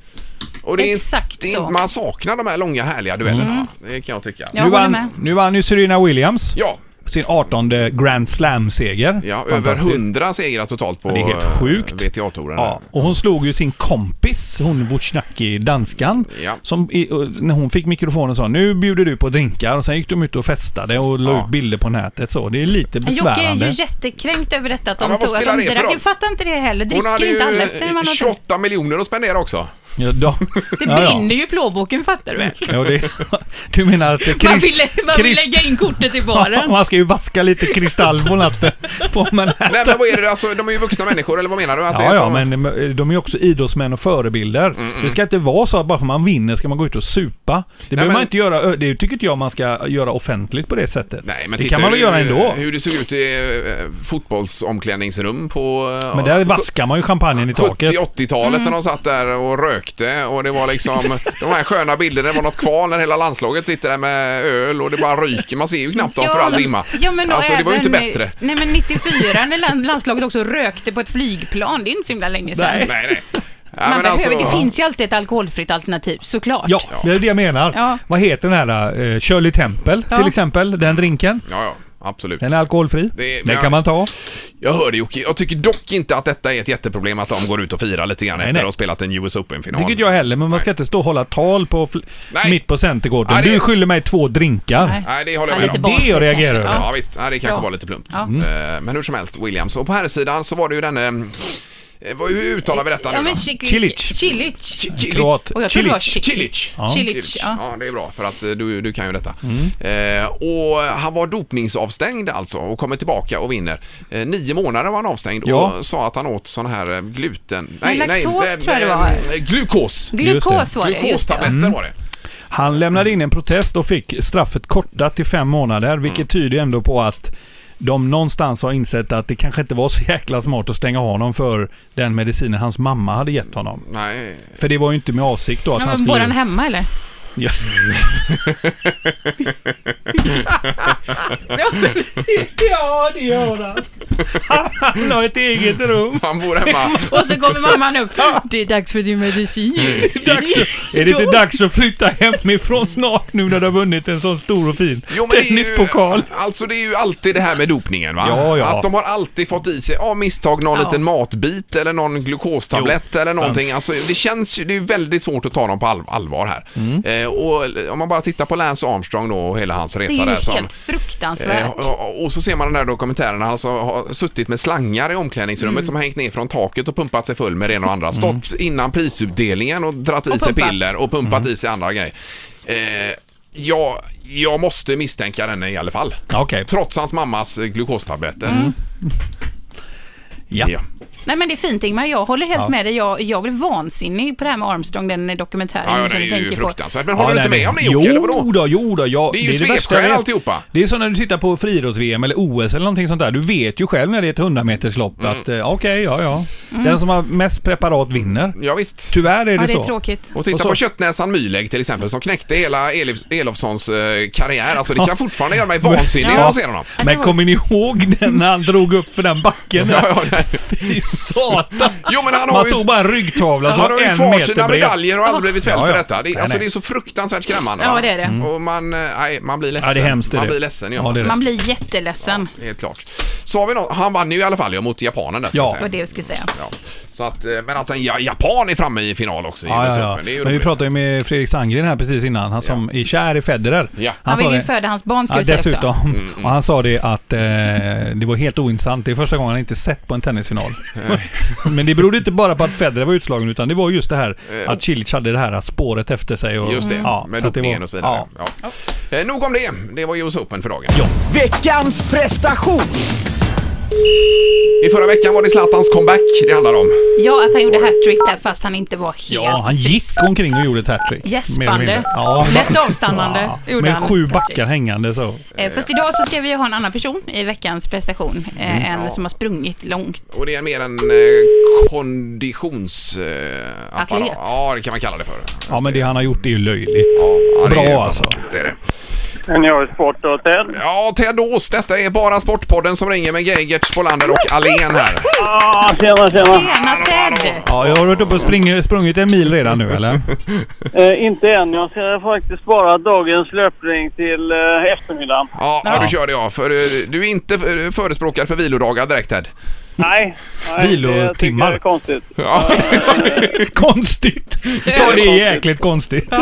E: Och det är,
A: Exakt
E: det är,
A: så. Mm.
E: Man saknar de här långa härliga duellerna. Det kan jag tycka.
A: Jag
F: nu,
A: håller
F: vann,
A: med.
F: nu vann ju Serena Williams
E: Ja,
F: sin 18 Grand Slam-seger.
E: ja över
F: Fantastiskt.
E: 100 segrar totalt på eh,
F: det är helt sjukt.
E: vta touren
F: Ja, och hon slog ju sin kompis, hon Wozniacki, danskan,
E: Ja.
F: som i, och när hon fick mikrofonen sa nu bjuder du på drinkar och sen gick de ut och festade och la
E: Ja.
F: ut bilder på nätet så. Det är lite
A: Men Jocke är ju
F: besvärande.
A: jättekränkt över detta att
E: Ja,
A: de
E: men vad
A: tog att
E: spelar
A: de
E: det för
A: drack.
E: roll?
A: Jag fattar inte det heller.
E: Hon
A: Dricker
E: hade
A: inte alla
E: ju
A: efter när man har
E: 28 miljoner att spendera också.
F: Ja, då-
A: Det
F: Ja, ja.
A: brinner ju i plånboken fattar du väl?
F: Ja, det, du menar att
A: Man
F: Chris,
A: vill, man vill
F: Chris-
A: lägga in kortet i
F: Ja,
A: baren.
F: man ska ju vaska lite kristall på natten på Manhattan.
E: Nej men vad är det, alltså, de är ju vuxna människor eller vad menar du? Att det
F: Ja,
E: är Mm,
F: ja,
E: som-
F: men eh, de är ju också idrottsmän och förebilder. Det ska inte vara så att bara för man vinner ska man gå ut och supa. Det behöver
E: men-
F: man inte göra. ö, Det tycker inte jag man ska göra offentligt på det sättet.
E: Nej, men
F: det
E: titta
F: kan man väl
E: hur-
F: göra ändå.
E: eh, Hur det såg ut i eh, fotbollsomklädningsrum på... eh,
F: men där vaskar man ju champagnen i taket. Mm.
E: 70-80-talet när de satt där och rökte och det var liksom de här sköna bilderna, det var något kval när hela landslaget sitter där med öl och det bara ryker. Man ser ju knappt dem för all dimma.
A: Ja, men då
E: alltså det var ju inte
A: även-
E: bättre.
A: Nej men 94 när land- landslaget också rökte på ett flygplan, det är inte så himla länge sedan.
F: Nej.
E: Nej, nej. Ja,
A: Man
E: men
A: behöver,
E: alltså-
A: Det finns ju alltid ett alkoholfritt alternativ, såklart.
F: Ja, det är det jag menar.
A: Ja.
F: Vad heter den här eh, Shirley Temple
A: Ja.
F: till exempel? Den drinken.
E: Ja, ja, absolut.
F: Den är alkoholfri.
E: Det- men
F: den
E: jag-
F: kan man ta.
E: Jag hör dig Jocke. Jag tycker dock inte att detta är ett jätteproblem att de går ut och firar lite grann efter
F: nej.
E: att ha spelat en US Open-final.
F: Det tycker inte jag heller, men man ska inte stå och hålla tal på fl-
E: Nej.
F: mitt på Centergården.
E: Nej, det-
F: Du skyller mig två drinkar.
A: Nej.
E: Nej, det håller jag
A: Ja,
E: med
A: lite
E: om.
F: Det
A: barnsligt
F: jag reagerar
A: kanske.
F: över.
E: Ja, visst. Ja, det kanske
A: Ja.
E: var lite plumpt.
A: Ja.
E: Mm. Eh, Men hur som helst, Williams. Och på här sidan så var det ju denne... eh, vad- Hur uttalar vi detta
A: Ja,
E: nu
A: men
E: då?
A: Cilic.
F: Cilic.
A: Cilic.
E: Ki-
F: Kroat.
A: Och jag tror det var Cilic.
E: Cilic.
A: Ja.
E: Cilic.
A: Cilic, ja. Mm.
E: Ja, det är bra för att eh, du, du kan ju detta. Eh, och han var dopningsavstängd alltså och kommer tillbaka och vinner. Eh, nio månader var han avstängd
F: Ja.
E: och sa att han åt sån här eh, gluten...
A: laktos
E: eh,
A: tror jag det
E: eh,
A: var.
E: Glukos.
A: Glukos var det, Mm. just det.
E: Glukostabletter var det.
F: Han lämnade in en protest och fick straffet kortat till fem månader,
E: Mm.
F: vilket tyder ändå på att de någonstans har insett att det kanske inte var så jäkla smart att stänga honom för den medicinen hans mamma hade gett honom.
E: Nej,
F: För det var ju inte med avsikt då att
A: Ja,
F: han
A: men
F: skulle...
A: bor han hemma eller?
F: Ja. ja, det gör han. Han har ett eget rum.
E: han bor hemma.
A: Och så kommer mamman upp. Det är dags för din
F: Mm,
A: medicin.
F: Dags att, är det inte dags att flytta hemifrån snart nu när du har vunnit en sån stor och fin
E: Jo, men det är ju-
F: tennispokal?
E: Alltså det är ju alltid det här med dopningen va?
F: Ja, ja.
E: Att de har alltid fått i sig av misstag någon
A: Ja.
E: liten matbit eller någon glukostablett eller någonting. Alltså det känns ju, det är väldigt svårt att ta dem på all, allvar här.
F: Mm.
E: Eh, och om man bara tittar på Lance Armstrong då och hela hans
A: Det är
E: resa
A: ju
E: där som
A: helt fruktansvärt.
E: Eh, och, och så ser man den här dokumentären, han alltså har suttit med slangar i omklädningsrummet som har hängt ner från taket och pumpat sig full med det ena och andra. Stått innan prisutdelningen och dratt i
A: Och
E: sig
A: pumpat.
E: piller och pumpat i sig andra grejer. Eh, jag, jag måste misstänka den i alla fall.
F: Okej.
E: Trots hans mammas eh, glukostabletter.
F: Ja.
A: Nej men det är fint Ingmar, jag håller helt
F: Ja.
A: med dig. Jag, jag blev vansinnig på det här med Armstrong, den dokumentären
E: Ja, ja,
A: som
E: det
A: du
E: är ju
A: tänker på.
E: fruktansvärt. Men håller du inte
F: nej,
E: med om det
F: men-
E: Jocke, eller vadå?
F: Jo då, jo då, ja,
E: Det är ju
F: värsta jag
E: svepskäl
F: vet.
E: alltihopa.
F: Det är som när du tittar på friidrotts-VM eller OS eller någonting sånt där. Du vet ju själv när det är ett 100 meterslopp
E: Mm.
F: att eh, okej, ja, ja. Den som har mest preparat vinner.
E: Ja, visst.
F: Tyvärr är det,
A: Mm. Ja, det
F: så.
A: är tråkigt.
E: Och titta
F: Och så-
E: på köttnäsan Myhlegg till exempel som knäckte hela Elif- Elofssons eh, karriär. Alltså det kan fortfarande göra mig vansinnig när jag ser honom.
A: Ja, det
F: Men
A: var-
F: kommer ni ihåg den när han drog upp för den backen?
E: Ja, ja, nej.
F: Fy satan!
E: Jo, men han har
F: Man
E: ju-
F: såg bara en ryggtavla som
E: Han har
F: var
E: ju
F: en
E: kvar sina
F: meter bred. Ah.
E: medaljer och aldrig blivit fälld
F: Ja,
E: för
F: ja.
E: detta. Det,
F: Nej,
E: alltså,
F: nej.
E: det är så fruktansvärt skrämmande.
A: Ja,
E: va?
A: det är det. Mm.
E: Och man, eh, nej, man blir ledsen.
F: Ja, det är hemskt.
E: man
F: är det.
E: blir ledsen, gör
F: ja, det är det.
A: Man blir jätteledsen.
E: Helt klart. Så har vi någon, han vann ju i alla fall ja, mot japanen där. ska
F: Ja.
E: jag säga.
A: Det var det jag skulle säga.
E: Ja. Så att, eh, men att en ja- japan är framme i final också i
F: Ja,
E: US
F: ja,
E: Open, det är ju
F: ja. Men vi
E: roligt.
F: pratade ju med Fredrik Sandgren här precis innan, han som är kär i Federer.
E: Ja.
A: Han
F: sa
A: vill ju
F: det-
A: föda hans barn ska
F: Ja,
A: vi säga också.
F: dessutom.
E: Mm,
F: Och han sa det att eh, det var helt ointressant. Det är första gången han inte sett på en tennisfinal. Men det berodde inte bara på att Federer var utslagen utan det var just det här att Cilic hade det här spåret efter sig.
E: Eh.
F: Och,
A: Mm.
E: Just det, med
F: så att det
E: dopningen
F: var-
E: och så vidare.
F: Ja.
E: Ja. Eh, nog om det. Det var US Open för dagen.
F: Ja.
D: Veckans prestation!
E: I förra veckan var det Zlatans comeback det handlar om.
A: Ja, att han gjorde hattrick där fast han inte var helt
F: Ja, han gick
A: frisk.
F: omkring och gjorde ett hattrick. mer eller
A: Gäspande.
F: mindre. Ja.
A: Lätt avstannande.
F: Ja,
A: gjorde
F: med
A: han.
F: sju backar hängande så.
A: Eh, Fast idag så ska vi ju ha en annan person i veckans prestation. eh,
F: Mm,
A: En som har sprungit långt.
E: Och det är mer en eh, konditions... Eh, apparat.
A: Atlet.
E: Ja, det kan man kalla det för.
F: Ja, men det han har gjort är ju löjligt.
E: Ja, ja, det
F: Bra
E: är
F: alltså.
E: fantastiskt, Det är det.
B: En gör sport och Ted.
E: Ja, Ted Ås, detta är bara Sportpodden som ringer med Geigert, Spolander och Alén här.
B: Ja, tjena, tjena.
A: Tjena Ted!
F: Ja, jag har varit uppe och spring, sprungit en mil redan nu eller?
B: Eh, inte än. Jag ska faktiskt spara dagens löpning till eh, eftermiddagen.
E: Ja, ja. du kör det ja. För eh, du är inte eh, förespråkare för vilodagar direkt Ted.
B: Nej, nej det tycker
F: Vilotimmar.
B: jag är konstigt.
E: Ja.
F: konstigt! Ja, det är jäkligt konstigt.
A: Eh,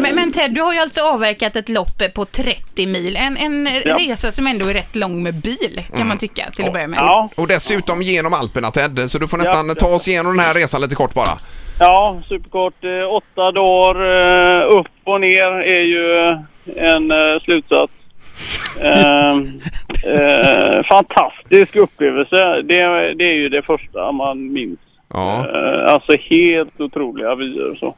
A: Men, men Ted, du har ju alltså avverkat ett lopp på 30 mil. En, en
B: Ja. Mm.
A: resa som ändå är rätt lång med bil, kan man tycka till att börja med.
B: Ja,
E: Och dessutom genom Alperna Ted, så du får nästan
B: Ja.
E: ta oss igenom den här resan lite kort bara.
B: ja superkort. Eh, åtta dagar eh, upp och ner är ju eh, en eh, slutsats. Eh, eh, fantastisk upplevelse. Det, det är ju det första man minns.
E: Ja.
B: Eh, alltså helt otroliga vyer och så.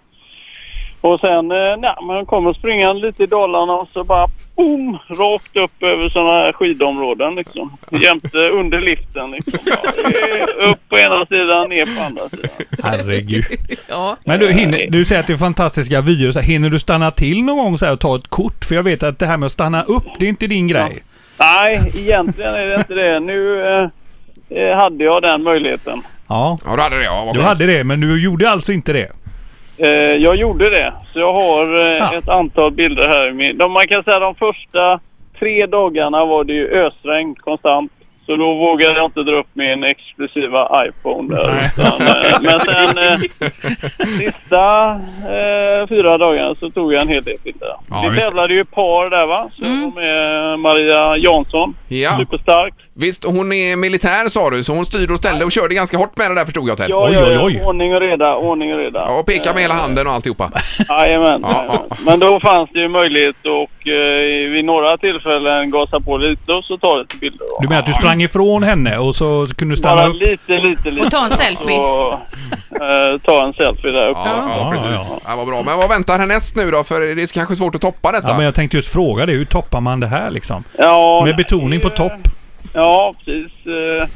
B: Och sen eh, när man kommer springande lite i Dalarna och så bara boom! Rakt upp över sådana här skidområden liksom. Jämte under liften liksom. Ja, eh, upp på ena sidan, ner på andra sidan.
F: Herregud.
A: Ja.
F: Men du, hinner, du säger att det är fantastiska vyer. så här, Hinner du stanna till någon gång så här och ta ett kort? För jag vet att det här med att stanna upp, det är inte din grej.
B: Nej, egentligen är det inte det. Nu eh, eh, hade jag den möjligheten.
F: Ja,
E: ja, du hade det ja. Vad
F: du
E: skönt.
F: hade det, men du gjorde alltså inte det.
B: Eh, jag gjorde det. Så jag har eh,
F: Ah.
B: ett antal bilder här. i min- De, man kan säga de första tre dagarna var det ju ösregn konstant. Så då vågade jag inte dra upp min exklusiva iPhone där. Utan, eh, men sen eh, sista eh, fyra dagarna så tog jag en hel del bilder.
E: Ja,
B: Vi
E: visst.
B: tävlade ju i par där va? Så jag var med Maria Jansson.
E: Ja.
B: Superstark.
E: Visst, och hon är militär sa du, så hon styrde och ställde och körde ganska hårt med det där förstod jag Ted.
B: Ja,
F: Oj,
B: ja,
F: oj,
B: ja.
F: oj.
B: Ordning och reda, ordning och reda.
E: Ja, och peka med hela handen och alltihopa.
B: Jajamän.
E: Ja,
B: jajamän.
E: ja.
B: Men då fanns det ju möjlighet och eh, vid några tillfällen gasa på lite och så ta lite bilder. va?
F: Du menar att du sprang ifrån henne och så kunde du stanna
B: Bara
F: upp?
B: lite, lite, lite.
A: Och ta en selfie.
B: Så, eh, ta en selfie där uppe.
E: Ja, ja,
F: Ja,
E: precis. Ja,
F: ja.
E: vad bra. Men vad väntar härnäst nu då? För det är kanske svårt att toppa detta.
F: Ja, men jag tänkte just fråga det. Hur toppar man det här liksom?
B: Ja,
F: Med betoning på
B: det är-
F: topp.
B: Ja, precis. eh,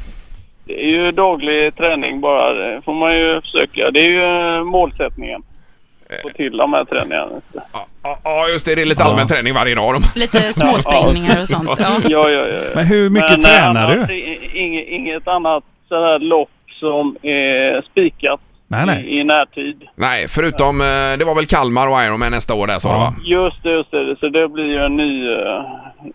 B: Det är ju daglig träning bara. Det får man ju försöka. Det är ju eh, målsättningen. Få till de här träningarna.
E: Ja, ja, ja, just det. Det är lite allmän träning varje dag. De...
A: Lite småsprängningar och sånt. Ja.
B: Ja, ja, ja. ja.
F: Men hur mycket
B: Men, eh,
F: tränar
B: annars
F: du?
B: i- Inget, inget annat sådär lopp som är spikat
F: Nej, nej.
B: I, i närtid.
E: Nej, förutom eh, det var väl Kalmar och Ironman nästa år där sa du
F: Ja.
E: va?
B: Just det, just det. Så det blir ju en ny... eh,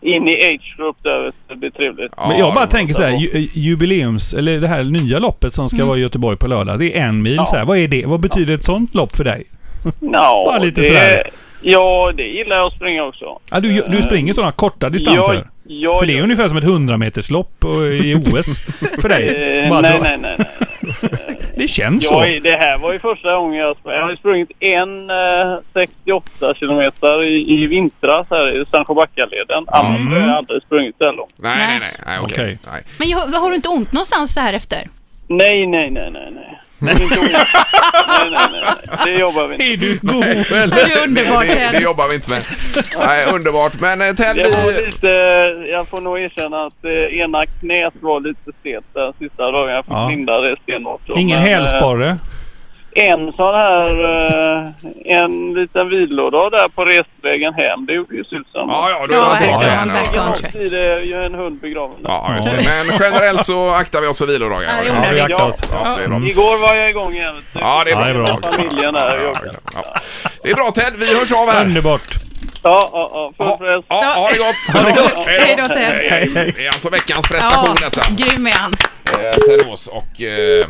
B: in i age-grupp där. Det blir trevligt.
E: Ja,
F: Men jag bara
E: det-
F: tänker så här, ju- eh, jubileums, eller det här nya loppet som ska
B: Mm.
F: vara i Göteborg på lördag. Det är en mil så här. Vad är det? Vad betyder ett sånt lopp för dig?
B: Nå,
F: Bara lite
B: det,
F: sådär.
B: Ja, det gillar jag att springa också.
F: Ja, du, du springer sådana korta distanser?
B: Eh, Jag- jag-
F: för det är ungefär som ett 100-meterslopp och- i OS för dig.
B: Eh,
F: Bara
B: nej,
F: dra-
B: nej, nej. nej.
F: Det känns så.
B: Jag, det här var ju första gången jag sprang. Jag har ju sprungit en eh, 68 kilometer i, i vintras här i
F: Mm.
B: Sandsjöbackaleden. Annars har jag aldrig sprungit så här långt.
E: Nej, nej, nej. nej okej.
F: Okej.
E: Nej.
A: Men jag, har du inte ont någonstans så här efter?
B: Nej, nej, nej, nej, nej. Det är inte ont. nej, nej, nej, nej. Det jobbar vi inte.
F: Är du god
A: Det
F: eller?
A: är underbart
E: Det, det
A: Ted.
E: jobbar vi inte med. Nej, underbart. Men eh, Ted,
B: Jag, var
E: vi...
B: lite, jag får nog erkänna att eh, ena knät var lite stelt den sista dagen. Jag fick
F: Ja.
B: linda det stenhårt. då.
F: Ingen
B: Men, eh,
F: hälsporre?
B: En sån här, eh, en liten vilodag där på resvägen hem, det gjorde ju susen.
E: Ja, ja, då
A: Ja,
E: har han tänkt det
A: verkligen.
E: här nu.
A: Han verkligen.
E: Ja,
A: ja.
B: Det är ju en hund begraven.
E: Ja, just det. Men generellt så aktar vi oss för
A: Ja,
E: vilodagar.
A: jo,
F: Ja,
A: nej.
F: vi aktar oss.
E: Ja, det är bra.
B: Igår var jag igång igen. vet du.
E: Ja, det är bra.
F: Ja, det är bra.
B: Familjen där och jobbet.
E: Ja. Det är bra Ted, vi hörs av här.
F: Underbart.
B: Ja, ja, ja. Full
E: Ja,
B: press.
E: ja, ha det gott! Ha
A: det gott. Hej då, Ted.
E: Hej, hej. Det är alltså veckans prestation detta.
A: grym är han.
E: Eh, Ted Ås och eh, eh,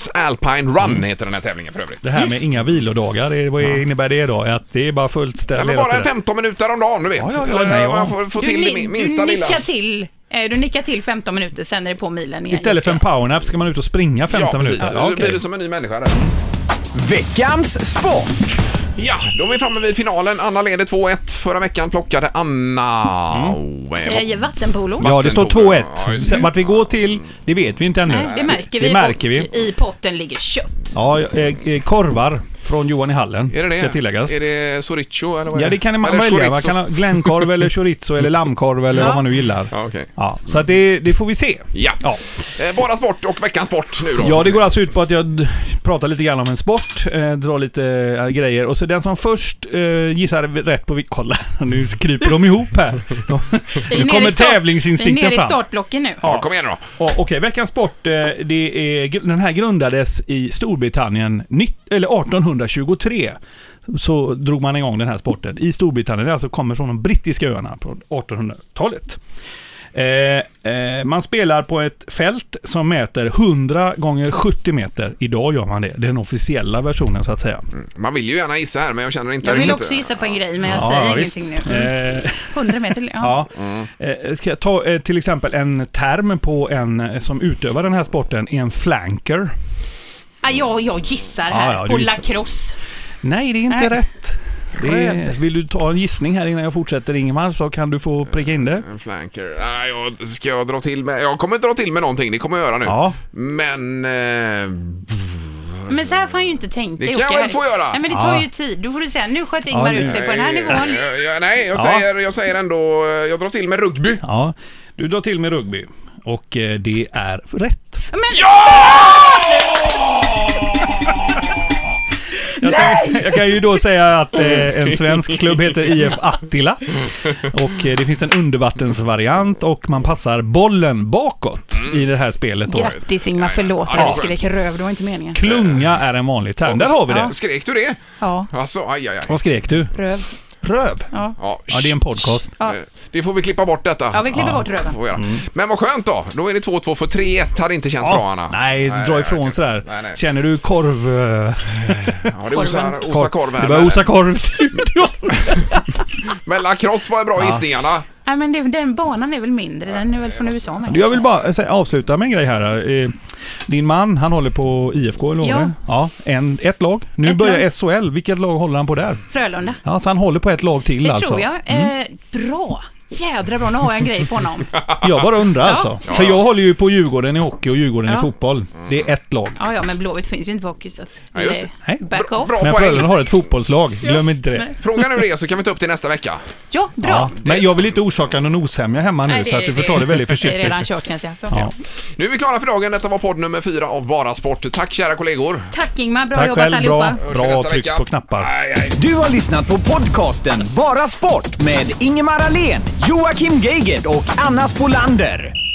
E: Transalpine Run heter den här tävlingen för övrigt.
F: Det här med inga vilodagar, det- vad innebär det då? Att det är bara fullt ställ
E: Nej, men
F: hela
E: bara en
F: tiden?
E: 15 minuter om dagen, du vet.
F: Ja, ja, ja,
E: Eller
F: nej, ja.
E: Man får, får till det
A: ni-
E: min- minsta
A: du
E: lilla...
A: nickar till, eh, du nickar till 15 minuter, sen är det på milen igen.
F: Istället för en powernap ska man ut och springa 15
E: Ja, precis. liksom-
F: minuter?
E: Så
F: Ja,
E: blir
F: okej.
E: du som en ny människa där.
D: Veckans sport.
E: Ja, då är vi framme vid finalen. Anna leder 2-1. Förra veckan plockade Anna...
F: Mm.
E: Oh, eh,
A: Eh, Vattenpolo.
E: Va-
F: Ja, det står
E: Vattenpolo. Ja,
F: 2-1.
E: just
F: Sen
E: det.
F: Vart vi går till, det vet vi inte ännu.
A: Nej, det märker vi.
F: Det märker vi.
A: Och i potten ligger kött.
F: Ja, eh, eh, korvar från Johan i Hallen,
E: Är det det?
F: ska tilläggas.
E: Är det soricho eller vad är
F: Ja, det kan man
E: Eller
F: välja. Man
E: chorizo.
F: kan ha glenkorv eller chorizo eller lammkorv eller vad man nu gillar.
E: Ja, okej.
F: Ja, så att det, det får vi se.
E: Ja.
F: Ja.
E: Eh, bara sport och veckans sport nu då.
F: Ja, det går alltså ut på att jag d- pratar lite grann om en sport, eh, drar lite eh, grejer och så den som först eh, gissar rätt på... vil- Kolla, nu kryper de ihop här. De,
A: Vi är
F: nu
A: nere
F: kommer
A: i start- Vi är
F: tävlingsinstinkten
A: nere i
F: fram.
A: startblocken nu.
E: Ja, kom igen då.
F: Ja, Okej, veckans sport. eh, Det är, gr- den här grundades i Storbritannien nitt- eller 1823. Så drog man igång den här sporten i Storbritannien. Det alltså kommer från de brittiska öarna på 1800-talet. Eh, eh, man spelar på ett fält som mäter 100 gånger 70 meter. Idag gör man det. Det är den officiella versionen så att säga.
E: Man vill ju gärna gissa här men jag känner inte...
A: Jag vill
E: riktigt-
A: också gissa på en grej, men Mm. jag
F: Ja,
A: säger
F: visst.
A: ingenting nu.
F: Eh,
A: 100 meter, ja. ja.
F: Ja. Eh, Ska jag ta eh, till exempel en term på en eh, som utövar den här sporten, är en flanker.
A: Ah, jag, jag gissar
F: Ja,
A: här
F: ja, du
A: på
F: gissar.
A: lacrosse.
F: Nej, det är inte
A: Nej.
F: rätt. Det är, vill du ta en gissning här innan jag fortsätter Ingemar så kan du få pricka in det.
E: En flanker. Nej, jag, ska jag dra till med... Jag kommer inte dra till med någonting, det kommer jag göra nu.
F: Ja.
E: Men... Eh,
A: Men så här får han ju inte tänka.
E: Det kan
A: Jocke,
E: jag väl
A: här-
E: få göra?
A: Nej, men det tar
F: Ja.
A: ju tid. Då får du säga, nu sköt Ingmar
F: det-
A: ut sig på den här
E: eh,
A: nivån.
E: eh, ja, nej, jag,
F: Ja.
E: säger, jag säger ändå... eh, Jag drar till med rugby.
F: Ja, du drar till med rugby. Och eh, det är rätt. Jag kan, jag kan ju då säga att eh, en svensk klubb heter IF Attila. Och eh, det finns en undervattensvariant och man passar bollen bakåt i det här spelet då.
A: Grattis Ingmar,
E: Ja, ja.
A: förlåt
E: Ja,
A: att
E: det
A: vi
E: var skönt.
A: skrek röv, det var inte meningen.
F: Klunga är en vanlig term. Där har vi det.
E: Skrek du det?
A: Ja,
E: Alltså, aj, aj, aj.
F: Vad skrek du?
A: röv.
F: Röv?
A: Ja,
E: Ja,
F: Ja, det är en podcast.
A: ja.
E: Eh, Det får vi klippa bort detta.
A: ja vi klipper bort röven.
E: Får vi göra.
F: Mm.
E: Men vad skönt då! Då är det 2-2 för 3-1 hade inte känts bra Anna.
F: nej, dra ifrån sådär.
E: Nej, nej.
F: Känner du korv... eh,
E: Ja, det osar,
A: Korven.
E: osar korv
F: Det
E: här.
F: börjar
E: men-
F: osa korv i studion.
E: Men lacrosse var bra gissningarna.
A: Nej, men det, den banan är väl mindre, den är väl från USA men.
F: Du, Jag vill bara säga- avsluta med en grej här. Eh, Din man, han håller på IFK, eller vad
A: Ja.
F: var det? ja en, Ett lag. Nu
A: Ett
F: börjar
A: lag.
F: SHL. Vilket lag håller han på där?
A: Frölunda.
F: Ja, så han håller på ett lag till
A: Det
F: alltså.
A: tror jag. Eh, bra! Jädra bra, nu har jag en grej på honom.
F: Jag bara undrar alltså. För jag håller ju på Djurgården i hockey och Djurgården i
A: Ja.
F: fotboll. Det är ett lag.
A: Ja, ja, men Blåvitt finns ju inte på hockey så att...
E: Ja, just
A: Nej.
F: Nej.
A: Back off.
E: Bra
F: Men
E: poäng.
F: Frölunda har ett fotbollslag. Glöm inte det.
E: Fråga nu det så kan vi ta upp det nästa vecka.
A: Ja, bra.
F: Ja. Men jag vill inte orsaka någon osämja hemma nu
A: Nej,
F: så att du får ta det väldigt
A: Det är
F: försiktigt.
A: redan kört kan jag säga. Så.
F: Ja.
E: Nu är vi klara för dagen. Detta var podd nummer fyra av Bara Sport. Tack kära kollegor.
A: Tack Ingmar, bra
F: Tack
A: jobbat
F: själv.
A: allihopa.
E: Hörs
F: Bra,
E: vi
F: bra
E: nästa
F: tryck
E: vecka.
F: på knappar.
E: Aj, aj.
D: Du har lyssnat på podcasten Bara Sport med Ingemar Ahlén, Joakim Geigert och Anna Spolander.